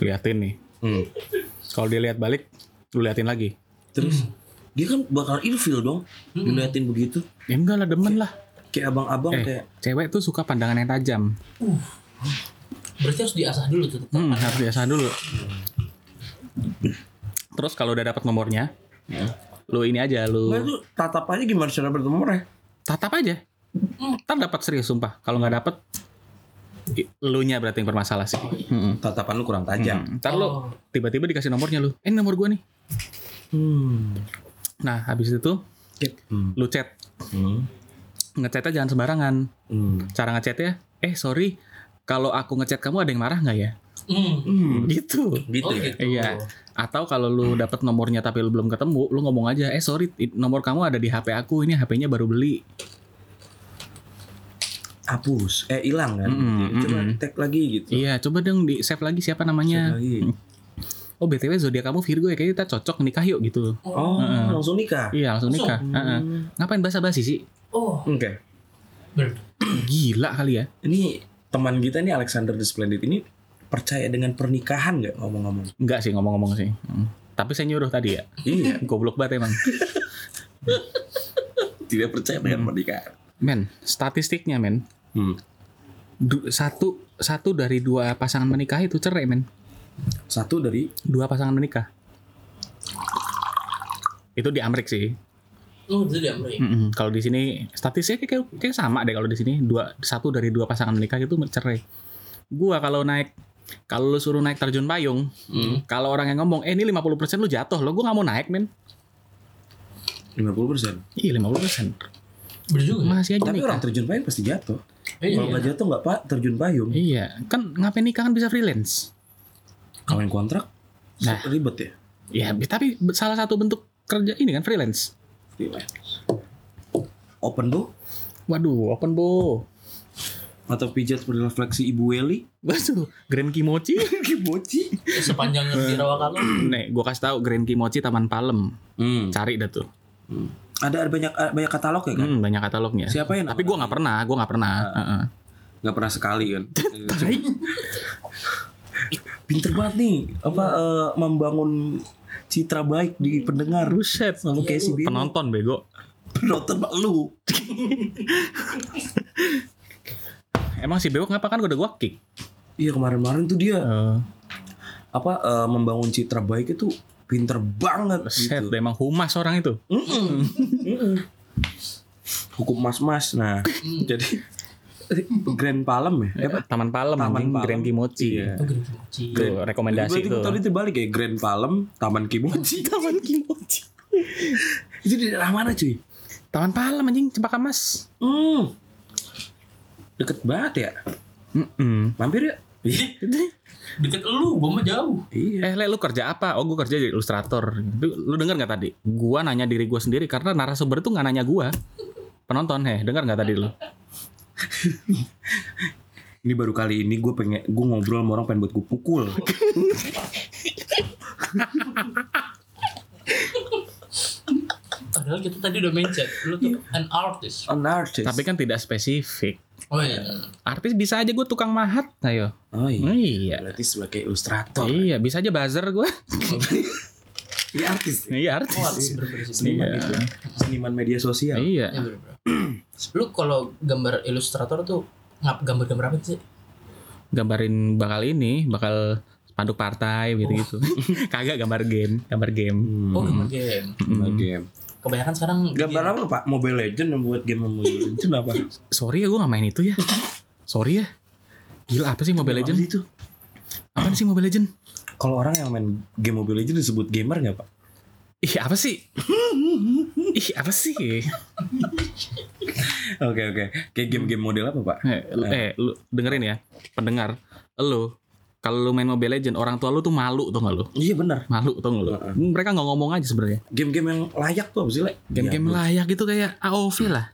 S3: Liatin nih.
S1: Hmm.
S3: Kalau dia lihat balik, lu liatin lagi.
S1: Terus
S3: Hmm.
S1: dia kan bakal ilfil dong, diliatin begitu.
S3: Ya enggak lah demen lah.
S1: Kayak abang-abang
S3: Hmm. Eh,
S1: kayak
S3: cewek tuh suka pandangan yang tajam.
S2: Berarti harus diasah dulu tuh.
S3: Hmm, harus biasa dulu. Terus kalau udah dapat nomornya, lu ini aja lu
S1: Nah, itu tatapannya gimana cara bertemu mereka?
S3: tatap aja. Ntar dapat serius sumpah. Kalau nggak dapat, lu nya berarti yang bermasalah sih. Hmm.
S1: Tatapan lu kurang tajam.
S3: Ntar lu
S2: Oh.
S3: tiba-tiba dikasih nomornya lu. Eh ini nomor gua nih.
S1: Hmm.
S3: Nah habis itu
S1: Hmm.
S3: lu chat.
S1: Hmm.
S3: Ngechatnya jangan sembarangan.
S1: Hmm.
S3: Cara ngechatnya, eh sorry, kalau aku ngechat kamu ada yang marah nggak ya?
S2: Hmm.
S3: Gitu.
S1: Gitu
S2: Oh,
S1: ya.
S3: Iya. Atau kalau lu dapat nomornya tapi lu belum ketemu, lu ngomong aja, eh sorry, i- nomor kamu ada di HP aku, ini HP-nya baru beli.
S1: Hapus. Eh hilang kan.
S3: Mm-mm,
S1: Coba
S3: mm-mm.
S1: tag lagi gitu.
S3: Iya, coba dong di save lagi siapa namanya.
S1: Lagi.
S3: Oh btw zodiak kamu Virgo ya, kayaknya kita cocok nikah yuk gitu.
S1: Oh, langsung nikah.
S3: Iya langsung nikah. Heeh.
S1: Hmm.
S3: Ngapain basa basi sih?
S2: Oh,
S1: Oke.
S2: bener.
S3: Gila kali ya.
S1: Ini teman kita nih Alexander the Splendid ini percaya dengan pernikahan nggak ngomong-ngomong?
S3: Enggak sih ngomong-ngomong sih. Hmm. Tapi saya nyuruh tadi ya.
S1: Iya.
S3: Goblok banget emang.
S1: Tidak percaya dengan pernikahan.
S3: Men, statistiknya men.
S1: Hmm.
S3: Du- satu satu dari dua pasangan menikah itu cerai men.
S1: Satu dari
S3: Dua pasangan menikah. Itu di Amrik sih.
S2: Oh, itu dia Amri.
S3: Mm-mm. Kalau di sini statistiknya kayak, kayak sama deh kalau di sini dua satu dari dua pasangan menikah itu cerai. Gua kalau naik kalau lu suruh naik terjun payung,
S1: Hmm.
S3: kalau orang yang ngomong, eh ini 50% lu jatuh, lo gua nggak mau naik, men.
S1: 50 persen.
S3: Iya, 50%.
S2: Bener juga.
S3: Masih aja
S1: Tapi
S3: nikah.
S1: orang terjun payung pasti jatuh.
S2: Iya.
S1: Kalau nggak jatuh nggak pak terjun payung.
S3: Iya, kan ngapain nikah kan bisa freelance.
S1: Kawin kontrak
S3: Nah.
S1: ribet ya.
S3: Ya, bi- tapi be- salah satu bentuk kerja ini kan freelance.
S1: Open book
S3: Waduh, open bo.
S1: atau pijat refleksi Ibu Weli?
S3: Waduh, Grand Kimochi.
S1: Kiboci.
S2: Eh, Sepanjang di Rawakalu.
S3: Nih, gua kasih tahu Grand Kimochi Taman Palem.
S1: Hmm.
S3: Cari dah tuh.
S1: Ada, ada banyak ada banyak katalog ya kan?
S3: Hmm, banyak katalognya.
S1: Siapa Ah. yang
S3: Tapi gua nggak pernah, gua nggak pernah. Heeh.
S1: nggak pernah sekali kan? Pinter banget nih apa
S3: Iya.
S1: eh, membangun citra baik di pendengar.
S3: Buset,
S1: Sama kayak si Bimo.
S3: Iya, penonton bego.
S1: Penonton Pak, lu.
S3: Emang si Bego ngapa kan udah gua kick?
S1: Iya kemarin-kemarin tuh dia
S3: Eh,
S1: apa eh, membangun citra baik itu pinter banget
S3: Buset,
S1: gitu.
S3: emang humas orang itu.
S1: Mm-mm. Mm-mm. Hukum mas-mas. Nah, jadi Grand Palem ya? Eh, apa?
S3: Taman Palem,
S1: Taman
S3: anjing,
S1: Palem.
S3: Grand Kimochi.
S1: Iya.
S2: Oh, Grand Kimochi.
S3: Tuh, rekomendasi
S1: Berarti
S3: tuh.
S1: tadi terbalik ya Grand Palem, Taman Kimochi. Taman Kimochi. itu di daerah mana cuy?
S3: Taman Palem anjing Cempaka Mas.
S1: Hmm. Deket banget ya.
S3: Mm-mm.
S1: Mampir ya.
S2: Deket lu, gua mah jauh.
S1: Iya.
S3: Eh, Le, lu kerja apa? Oh, gue kerja jadi ilustrator. Lu, lu denger nggak tadi? Gua nanya diri gua sendiri karena narasumber tuh nggak nanya gua. Penonton, heh, denger nggak tadi lu?
S1: Ini baru kali ini gue pengen gue ngobrol sama orang pengen buat gue pukul.
S2: Padahal kita tadi udah mention lu tuh an artist.
S1: An artist.
S3: Tapi kan tidak spesifik.
S2: Oh iya.
S3: Artis bisa aja gue tukang mahat, ayo.
S1: oh iya.
S3: Iya.
S1: Berarti sebagai ilustrator.
S3: Iya, bisa aja buzzer gua.
S1: Ini artis. ya?
S3: Iya,
S2: Oh,
S3: artis.
S2: artis bener-bener.
S1: Seniman gitu. Seniman media sosial.
S2: Ya,
S3: Iya.
S2: bener-bener. Lu kalau gambar ilustrator tuh ngap gambar-gambar apa sih?
S3: Gambarin bakal ini, bakal spanduk partai gitu-gitu. Kagak gambar game, gambar game.
S1: Hmm.
S2: Oh, Iya. gambar game.
S1: Gambar
S3: Mm-mm.
S1: game.
S2: Kebanyakan sekarang
S1: Gambar apa pak? Mobile Legend yang buat game Mobile Legend apa?
S3: Sorry ya gue gak main itu ya. Sorry ya. Gila apa sih Mobile Legend?
S1: itu.
S3: Apa sih Mobile Legend?
S1: Kalau orang yang main game Mobile Legend disebut gamer nggak pak?
S3: Ih apa sih? Ih apa sih?
S1: Oke oke. Kayak game-game model apa pak?
S3: Eh, lu- eh, lu dengerin ya, pendengar. Lu kalau lu main Mobile Legend, orang tua lu tuh malu tuh gak lu?
S1: Iya benar.
S3: Malu tuh gak lu? Mereka nggak ngomong aja sebenarnya.
S1: Game-game yang layak tuh apa sih? Le?
S3: Game-game
S1: Iya,
S3: layak gitu kayak AOV lah.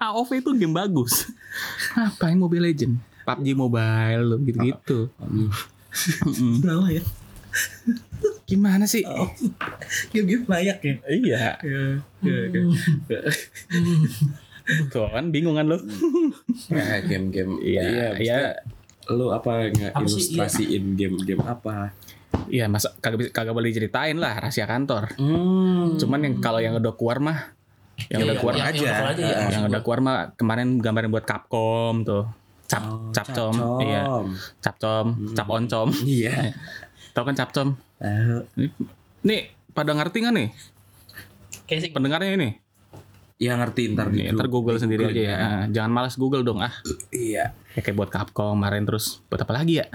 S3: AOV itu game bagus. Apain Mobile Legend? PUBG Mobile lu, gitu-gitu. Mm-mm.
S1: Udah lah ya. Oh.
S3: Gimana sih?
S1: Game-game layak ya.
S3: Iya.
S1: Iya. Iya. iya.
S3: Tuh kan bingung kan lu?
S1: Ya, game-game.
S3: Iya, iya,
S1: maksudnya Lu apa nggak
S2: Apa sih, iya?
S1: ilustrasiin game-game apa?
S3: iya masa kagak bisa- kagak boleh ceritain lah rahasia kantor.
S1: Hmm.
S3: Cuman yang kalau yang udah keluar mah yang
S2: Ya,
S3: udah
S2: ya,
S3: keluar
S2: ya,
S1: aja.
S2: yang udah keluar aja ya,
S1: Ah,
S2: maksud
S3: Iya, yang
S2: gua.
S3: udah keluar mah kemarin gambarin buat Capcom tuh. Cap
S1: Oh,
S3: Capcom, iya. Capcom, Cap Oncom.
S1: Iya.
S3: Tau kan Capcom?
S1: Tahu.
S3: Nih, pada ngerti nggak nih
S2: Kayak sih-
S3: pendengarnya ini?
S1: Ya ngerti ntar di
S3: Nih, ntar
S1: grup.
S3: Google sendiri aja ya. Ah, Jangan malas Google dong ah.
S1: Iya.
S3: Ya, kayak buat Capcom kemarin terus buat apa lagi ya?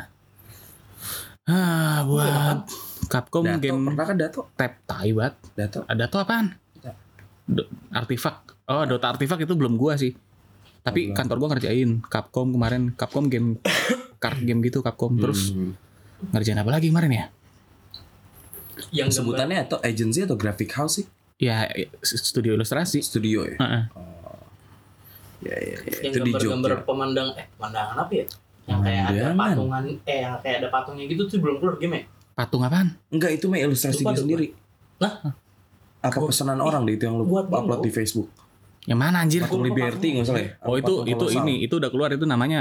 S3: Ah, buat Capcom
S1: Dato,
S3: game
S1: pernah kan Dato?
S3: tap tai banget.
S1: Dato.
S3: Ada tuh apaan? Do- artifak. Oh, Dota Artifak itu belum gua sih. Tapi kantor gua ngerjain Capcom kemarin, Capcom game card game gitu Capcom. Terus
S1: Hmm.
S3: ngerjain apa lagi kemarin ya?
S2: yang gambar
S1: Sebutannya atau agency atau graphic house sih?
S3: Ya eh, studio ilustrasi.
S1: Studio ya?
S3: Heeh.
S1: Iya, iya, iya.
S2: yang
S1: Itu di
S2: gambar-gambar
S1: Jogja.
S2: pemandang eh pemandangan apa ya? Yang kayak ada
S1: Pemandangan.
S2: patungan eh yang kayak ada patungnya gitu tuh belum keluar game ya?
S3: Patung apaan?
S1: Enggak, itu mah ilustrasi
S2: Lupa,
S1: gue
S2: lupa.
S1: sendiri.
S2: Lah,
S1: apa pesanan orang deh itu yang lu
S2: Buat
S1: upload
S2: dulu.
S1: di Facebook
S3: Yang mana anjir?
S1: patung Liberty nggak salah ya
S3: Oh itu
S1: Patung
S3: itu
S1: kolosal.
S3: ini itu udah keluar itu namanya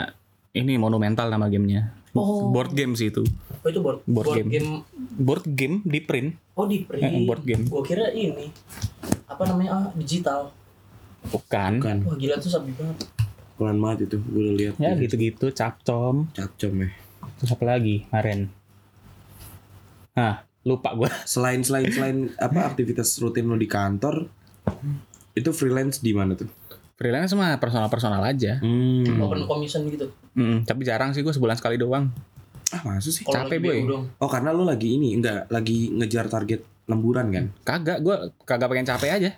S3: ini monumental nama gamenya. Board game sih itu.
S2: Oh itu board,
S3: Board
S2: board,
S3: game.
S2: game.
S3: Board game di print.
S2: Oh di print.
S3: Eh, board game.
S2: Gua kira ini apa namanya ah, digital.
S3: Bukan.
S1: bukan
S2: Wah gila tuh sabi banget.
S1: bukan banget itu gue udah lihat
S3: Ya
S2: gitu.
S3: gitu-gitu capcom.
S1: capcom ya
S3: Terus apa lagi? Maren. Nah, lupa gue.
S1: selain selain selain apa aktivitas rutin lu di kantor itu freelance di mana tuh
S3: Freelance mah personal-personal aja.
S1: hmm.
S2: Open commission gitu.
S3: Mm-mm, tapi jarang sih gue sebulan sekali doang.
S1: ah masa sih
S2: Kalau
S3: Capek,
S2: lagi
S3: Boy.
S2: BU dong.
S1: oh karena lu lagi ini enggak lagi ngejar target lemburan kan
S3: Kagak, gue kagak pengen capek aja.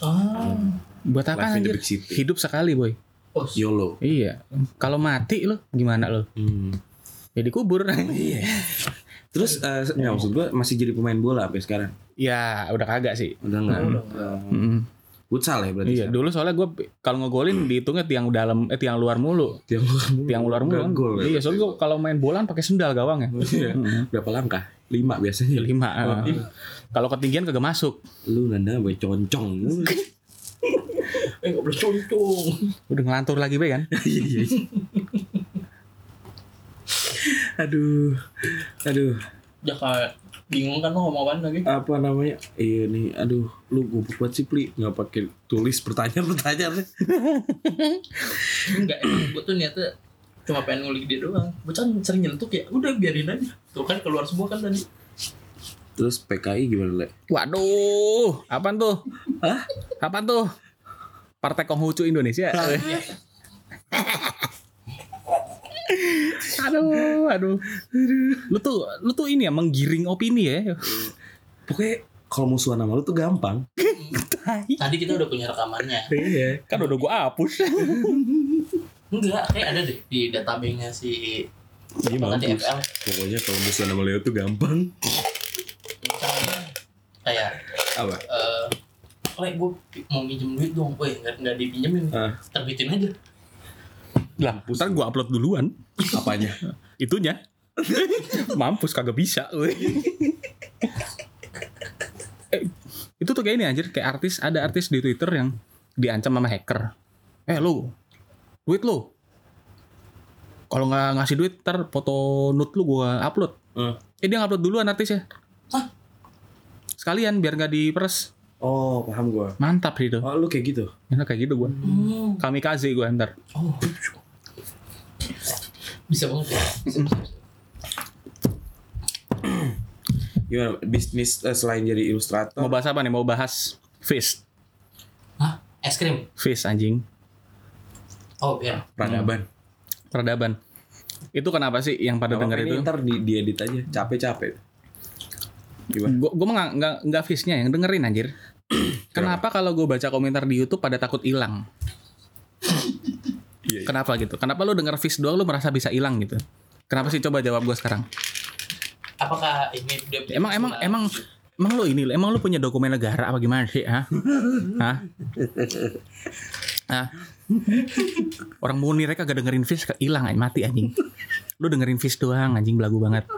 S2: Ah.
S3: Buat
S1: Life
S3: apa
S1: in the
S3: kan, anjir?
S1: big city.
S3: Hidup sekali, boy.
S2: Oh,
S1: YOLO
S3: Iya. Kalau mati lo gimana lo?
S1: hmm.
S3: Jadi kubur.
S1: iya terus eh, nggak maksud gue masih jadi pemain bola apa ya sekarang
S3: ya, udah kagak sih.
S1: udah enggak
S2: udah enggak.
S3: Mm-mm.
S1: futsal ya berarti
S3: Iya,
S1: sekarang?
S3: dulu soalnya gue kalau ngegolin dihitungnya tiang dalam eh tiang luar mulu,
S1: Tiap luar mulu.
S3: tiang luar mulu.
S1: Udah
S3: kan.
S1: gol ya?
S3: Iya, soalnya gue kalau main bola kan pakai sendal gawang ya. Iya,
S1: Iya. berapa langkah lima biasanya
S3: Lima.
S1: iya.
S3: Kalau ketinggian kagak masuk.
S1: lu nanda boy concong
S2: Eh nggak boleh concong.
S3: Udah ngelantur lagi be kan.
S1: aduh aduh
S2: Ya kayak bingung kan lo ngomong apaan lagi.
S1: apa namanya iya nih aduh lu goblok banget sih pli nggak pakai tulis pertanyaan pertanyaan
S2: Enggak, gue tuh niatnya cuma pengen ngulik dia doang. Gue kan sering nyentuh ya, udah biarin aja. Tuh kan keluar semua kan tadi.
S1: terus PKI gimana le
S3: Waduh, apaan tuh? Hah? Apaan tuh? Partai Konghucu Indonesia. aduh, aduh. Lu tuh lu tuh ini ya menggiring opini ya.
S1: pokoknya kalau musuhan sama lu tuh gampang
S3: Tai.
S2: Tadi kita udah punya rekamannya.
S1: iya
S3: kan udah gua hapus.
S2: Enggak, kayak Eh, ada deh di database-nya si
S1: dia
S2: apa tadi
S1: mampus
S2: FL.
S1: pokoknya kalau musuhan sama Leo tuh gampang
S2: Misalnya kayak
S1: apa
S2: eh Woi, gue mau minjem duit dong. Woi, nggak nggak dipinjemin.
S1: Ah.
S2: Terbitin aja.
S3: Lah, ntar gua upload duluan
S1: apanya
S3: itunya. Mampus kagak bisa. weh. Eh, itu tuh kayak ini anjir, kayak artis ada artis di Twitter yang diancam sama hacker. Eh lu, duit lu. Kalau nggak ngasih duit, ntar foto nude lu gua upload.
S1: Eh.
S3: Eh dia upload duluan artisnya.
S2: Hah?
S3: Sekalian biar nggak diperes.
S1: oh paham gua
S3: Mantap sih itu.
S1: oh lu kayak gitu
S3: Enak kayak gitu gua.
S2: Hmm.
S3: Kami kasih gua ntar.
S2: Oh. Bisa banget ya. Bisa, bisa, bisa.
S1: gimana bisnis eh, selain jadi
S3: Mau
S1: ilustrator
S3: bahas apa nih? Mau bahas fist.
S2: Hah? Es krim?
S3: Fist anjing.
S2: Oh, biar.
S1: peradaban
S3: peradaban. Itu kenapa sih yang pada
S1: Apa
S3: dengar
S1: Nah, ini
S3: itu?
S1: ntar di, diedit aja capek-capek gimana
S3: Gue gue nggak nggak nggak fishnya yang dengerin anjir. kenapa kalau gue baca komentar di YouTube pada takut hilang?
S1: Iya, iya.
S3: Kenapa gitu? Kenapa lu denger fish doang lu merasa bisa hilang gitu? Kenapa sih coba jawab gue sekarang?
S2: Apakah ini dia
S3: Emang emang emang emang lu ini emang lu punya dokumen negara apa gimana sih? Hah? Hah? Hah? Orang muni mereka gak dengerin fish ke- hilang anjing, mati anjing. Lu dengerin fish doang anjing belagu banget.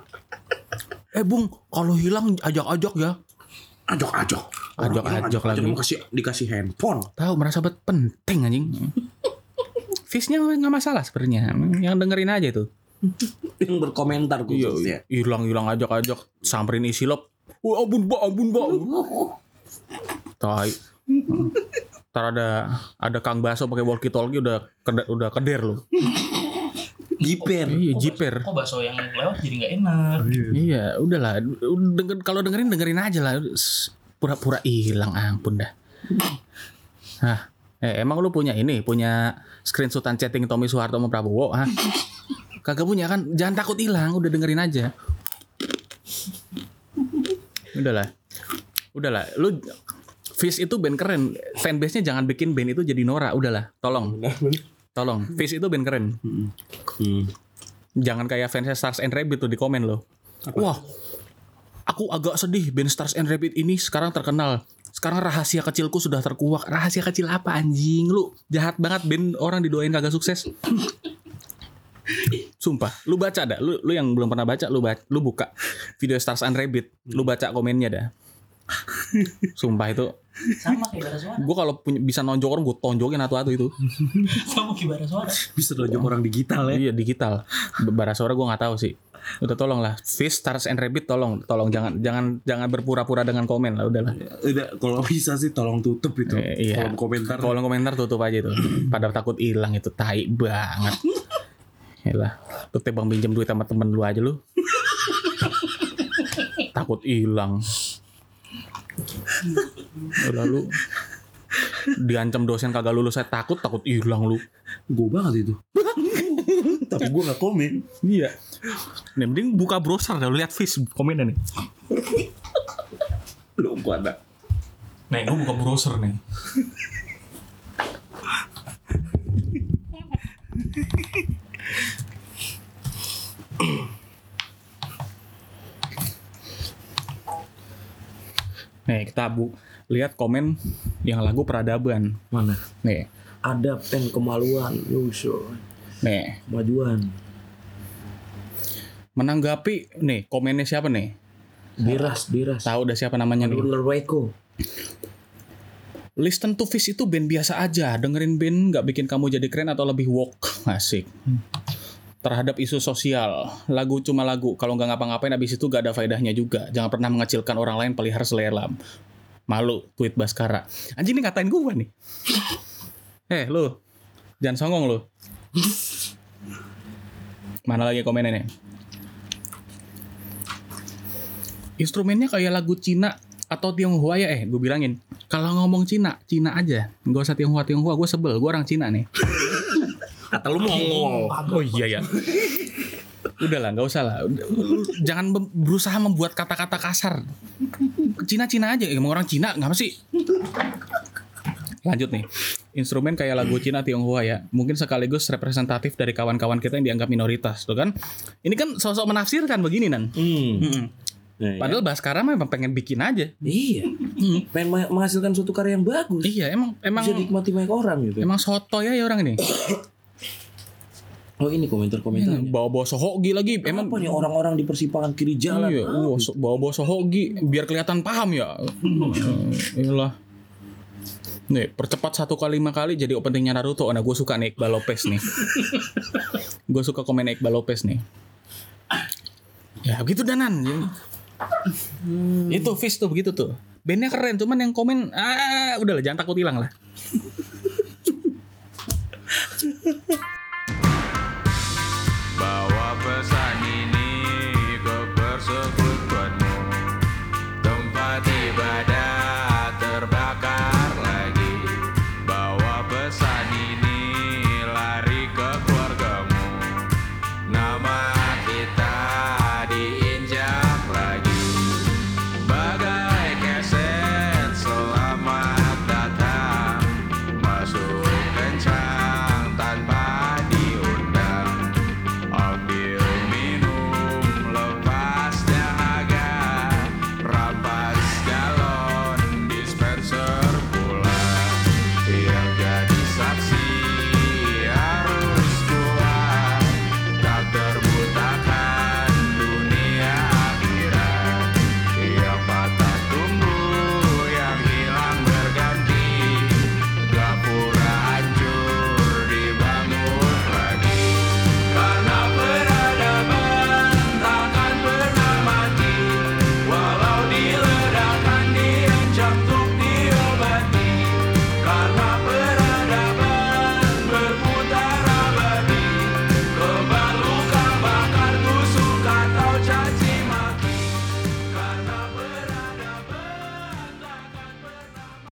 S3: Eh Bung, kalau hilang ajak-ajak ya.
S1: ajok-ajok
S3: Ajok-ajok lagi.
S1: Ajok, kasih dikasih handphone
S3: Tahu merasa bet penting anjing. Fishnya nggak masalah sebenarnya. Yang dengerin aja itu.
S1: yang berkomentar
S3: Iya,
S1: khususnya
S3: Hilang hilang ajak ajak samperin isi lop. Wah ampun mbak, ampun mbak. Tai. Ntar ada ada Kang Baso pakai walkie talkie udah keder, udah keder loh.
S1: jiper
S3: Iya jiper.
S2: Kok Oh, bakso yang lewat jadi nggak enak?
S3: Iya udahlah. Denger, kalau dengerin dengerin aja lah. S- Pura-pura hilang ah, ampun dah. Hah. Eh, emang lu punya ini, punya screenshotan chatting Tommy Soeharto sama Prabowo, hah? Kagak punya kan? Jangan takut hilang, udah dengerin aja. Udahlah. Udahlah, lu Fish itu band keren. Fanbase-nya jangan bikin band itu jadi Nora, udahlah. Tolong. Tolong. Fish itu band keren.
S1: Hmm.
S3: Jangan kayak fansnya Stars and Rabbit tuh di komen loh. Wah, aku agak sedih band Stars and Rabbit ini sekarang terkenal. Sekarang rahasia kecilku sudah terkuak. Rahasia kecil apa anjing? Lu jahat banget band orang didoain kagak sukses. Sumpah, lu baca dah. Lu, lu yang belum pernah baca, lu baca, lu buka video Stars and Rabbit, lu baca komennya dah. Sumpah itu.
S2: sama kayak bara suara
S3: Gue kalau punya, bisa nonjok orang gue tonjokin atau-atau itu.
S2: sama kayak bara suara
S4: Bisa dojok orang digital ya.
S3: Iya digital. Barasora gue nggak tahu sih. Udah tolong lah. Fish, Stars and Rabbit tolong, tolong jangan jangan jangan berpura-pura dengan komen lah udahlah.
S1: Udah, Iya, kalau bisa sih tolong tutup itu.
S3: Eh, iya.
S1: Kolom komentar.
S3: Kolom komentar tutup aja itu. Pada takut hilang itu tai banget. Yalah, lu teh bang pinjam duit sama temen lu aja lu. takut hilang. Udah lu diancam dosen kagak lulus saya takut takut hilang lu.
S1: Gue banget itu. Tapi gue gak komen.
S3: Iya. Nih, mending buka browser dah lu lihat fish komennya nih.
S1: Lu gua ada.
S3: Nih, gue buka browser nih. Nih, kita bu lihat komen yang lagu peradaban.
S4: Mana?
S3: Nih,
S4: Ada pen kemaluan, lusuh,
S3: nih.
S4: kemajuan,
S3: Menanggapi nih komennya siapa nih?
S4: biras, biras.
S3: Tahu udah siapa namanya nih?
S4: Lunar Waiko.
S3: Listen to Fish itu band biasa aja. Dengerin band nggak bikin kamu jadi keren atau lebih woke. Asik. Terhadap isu sosial. Lagu cuma lagu. Kalau nggak ngapa-ngapain abis itu nggak ada faedahnya juga. Jangan pernah mengecilkan orang lain pelihara selera. Malu. Tweet Baskara. Anjing ini ngatain gue nih. eh lu. Jangan songong lu. Mana lagi komennya nih? Instrumennya kayak lagu Cina atau Tionghoa ya eh gue bilangin kalau ngomong Cina Cina aja gak usah Tionghoa Tionghoa gue sebel gue orang Cina nih
S4: Kata lu mongol.
S3: oh iya ya udah lah nggak usah lah Udah, lu jangan mem- berusaha membuat kata-kata kasar Cina Cina aja emang orang Cina nggak apa sih lanjut nih instrumen kayak lagu Cina Tionghoa ya mungkin sekaligus representatif dari kawan-kawan kita yang dianggap minoritas tuh kan ini kan sosok menafsirkan begini nan
S1: Hmm.
S3: Mm-mm. padahal Baskara mah emang pengen bikin aja
S4: Iya.
S1: Hmm.
S4: Pengen ma- menghasilkan suatu karya yang bagus.
S3: iya emang emang
S4: Bisa dinikmati banyak orang gitu.
S3: emang soto ya orang ini Iya,
S4: Oh ini komentar-komentarnya.
S3: bawa-bawa sohogi lagi emang
S4: Emang apa nih orang-orang di persimpangan kiri jalan?
S3: Iya, wah, so- bawa-bawa sohogi biar kelihatan paham ya. Iyalah. Nih, percepat satu kali lima kali jadi openingnya Naruto. Nah, gue suka nih Iqbal Lopez nih. gue suka komen Iqbal Lopez nih. Ya begitu Danan.
S4: Hmm.
S3: Itu Fish tuh begitu tuh. Bandnya keren, cuman yang komen, ah udahlah jangan takut hilang lah.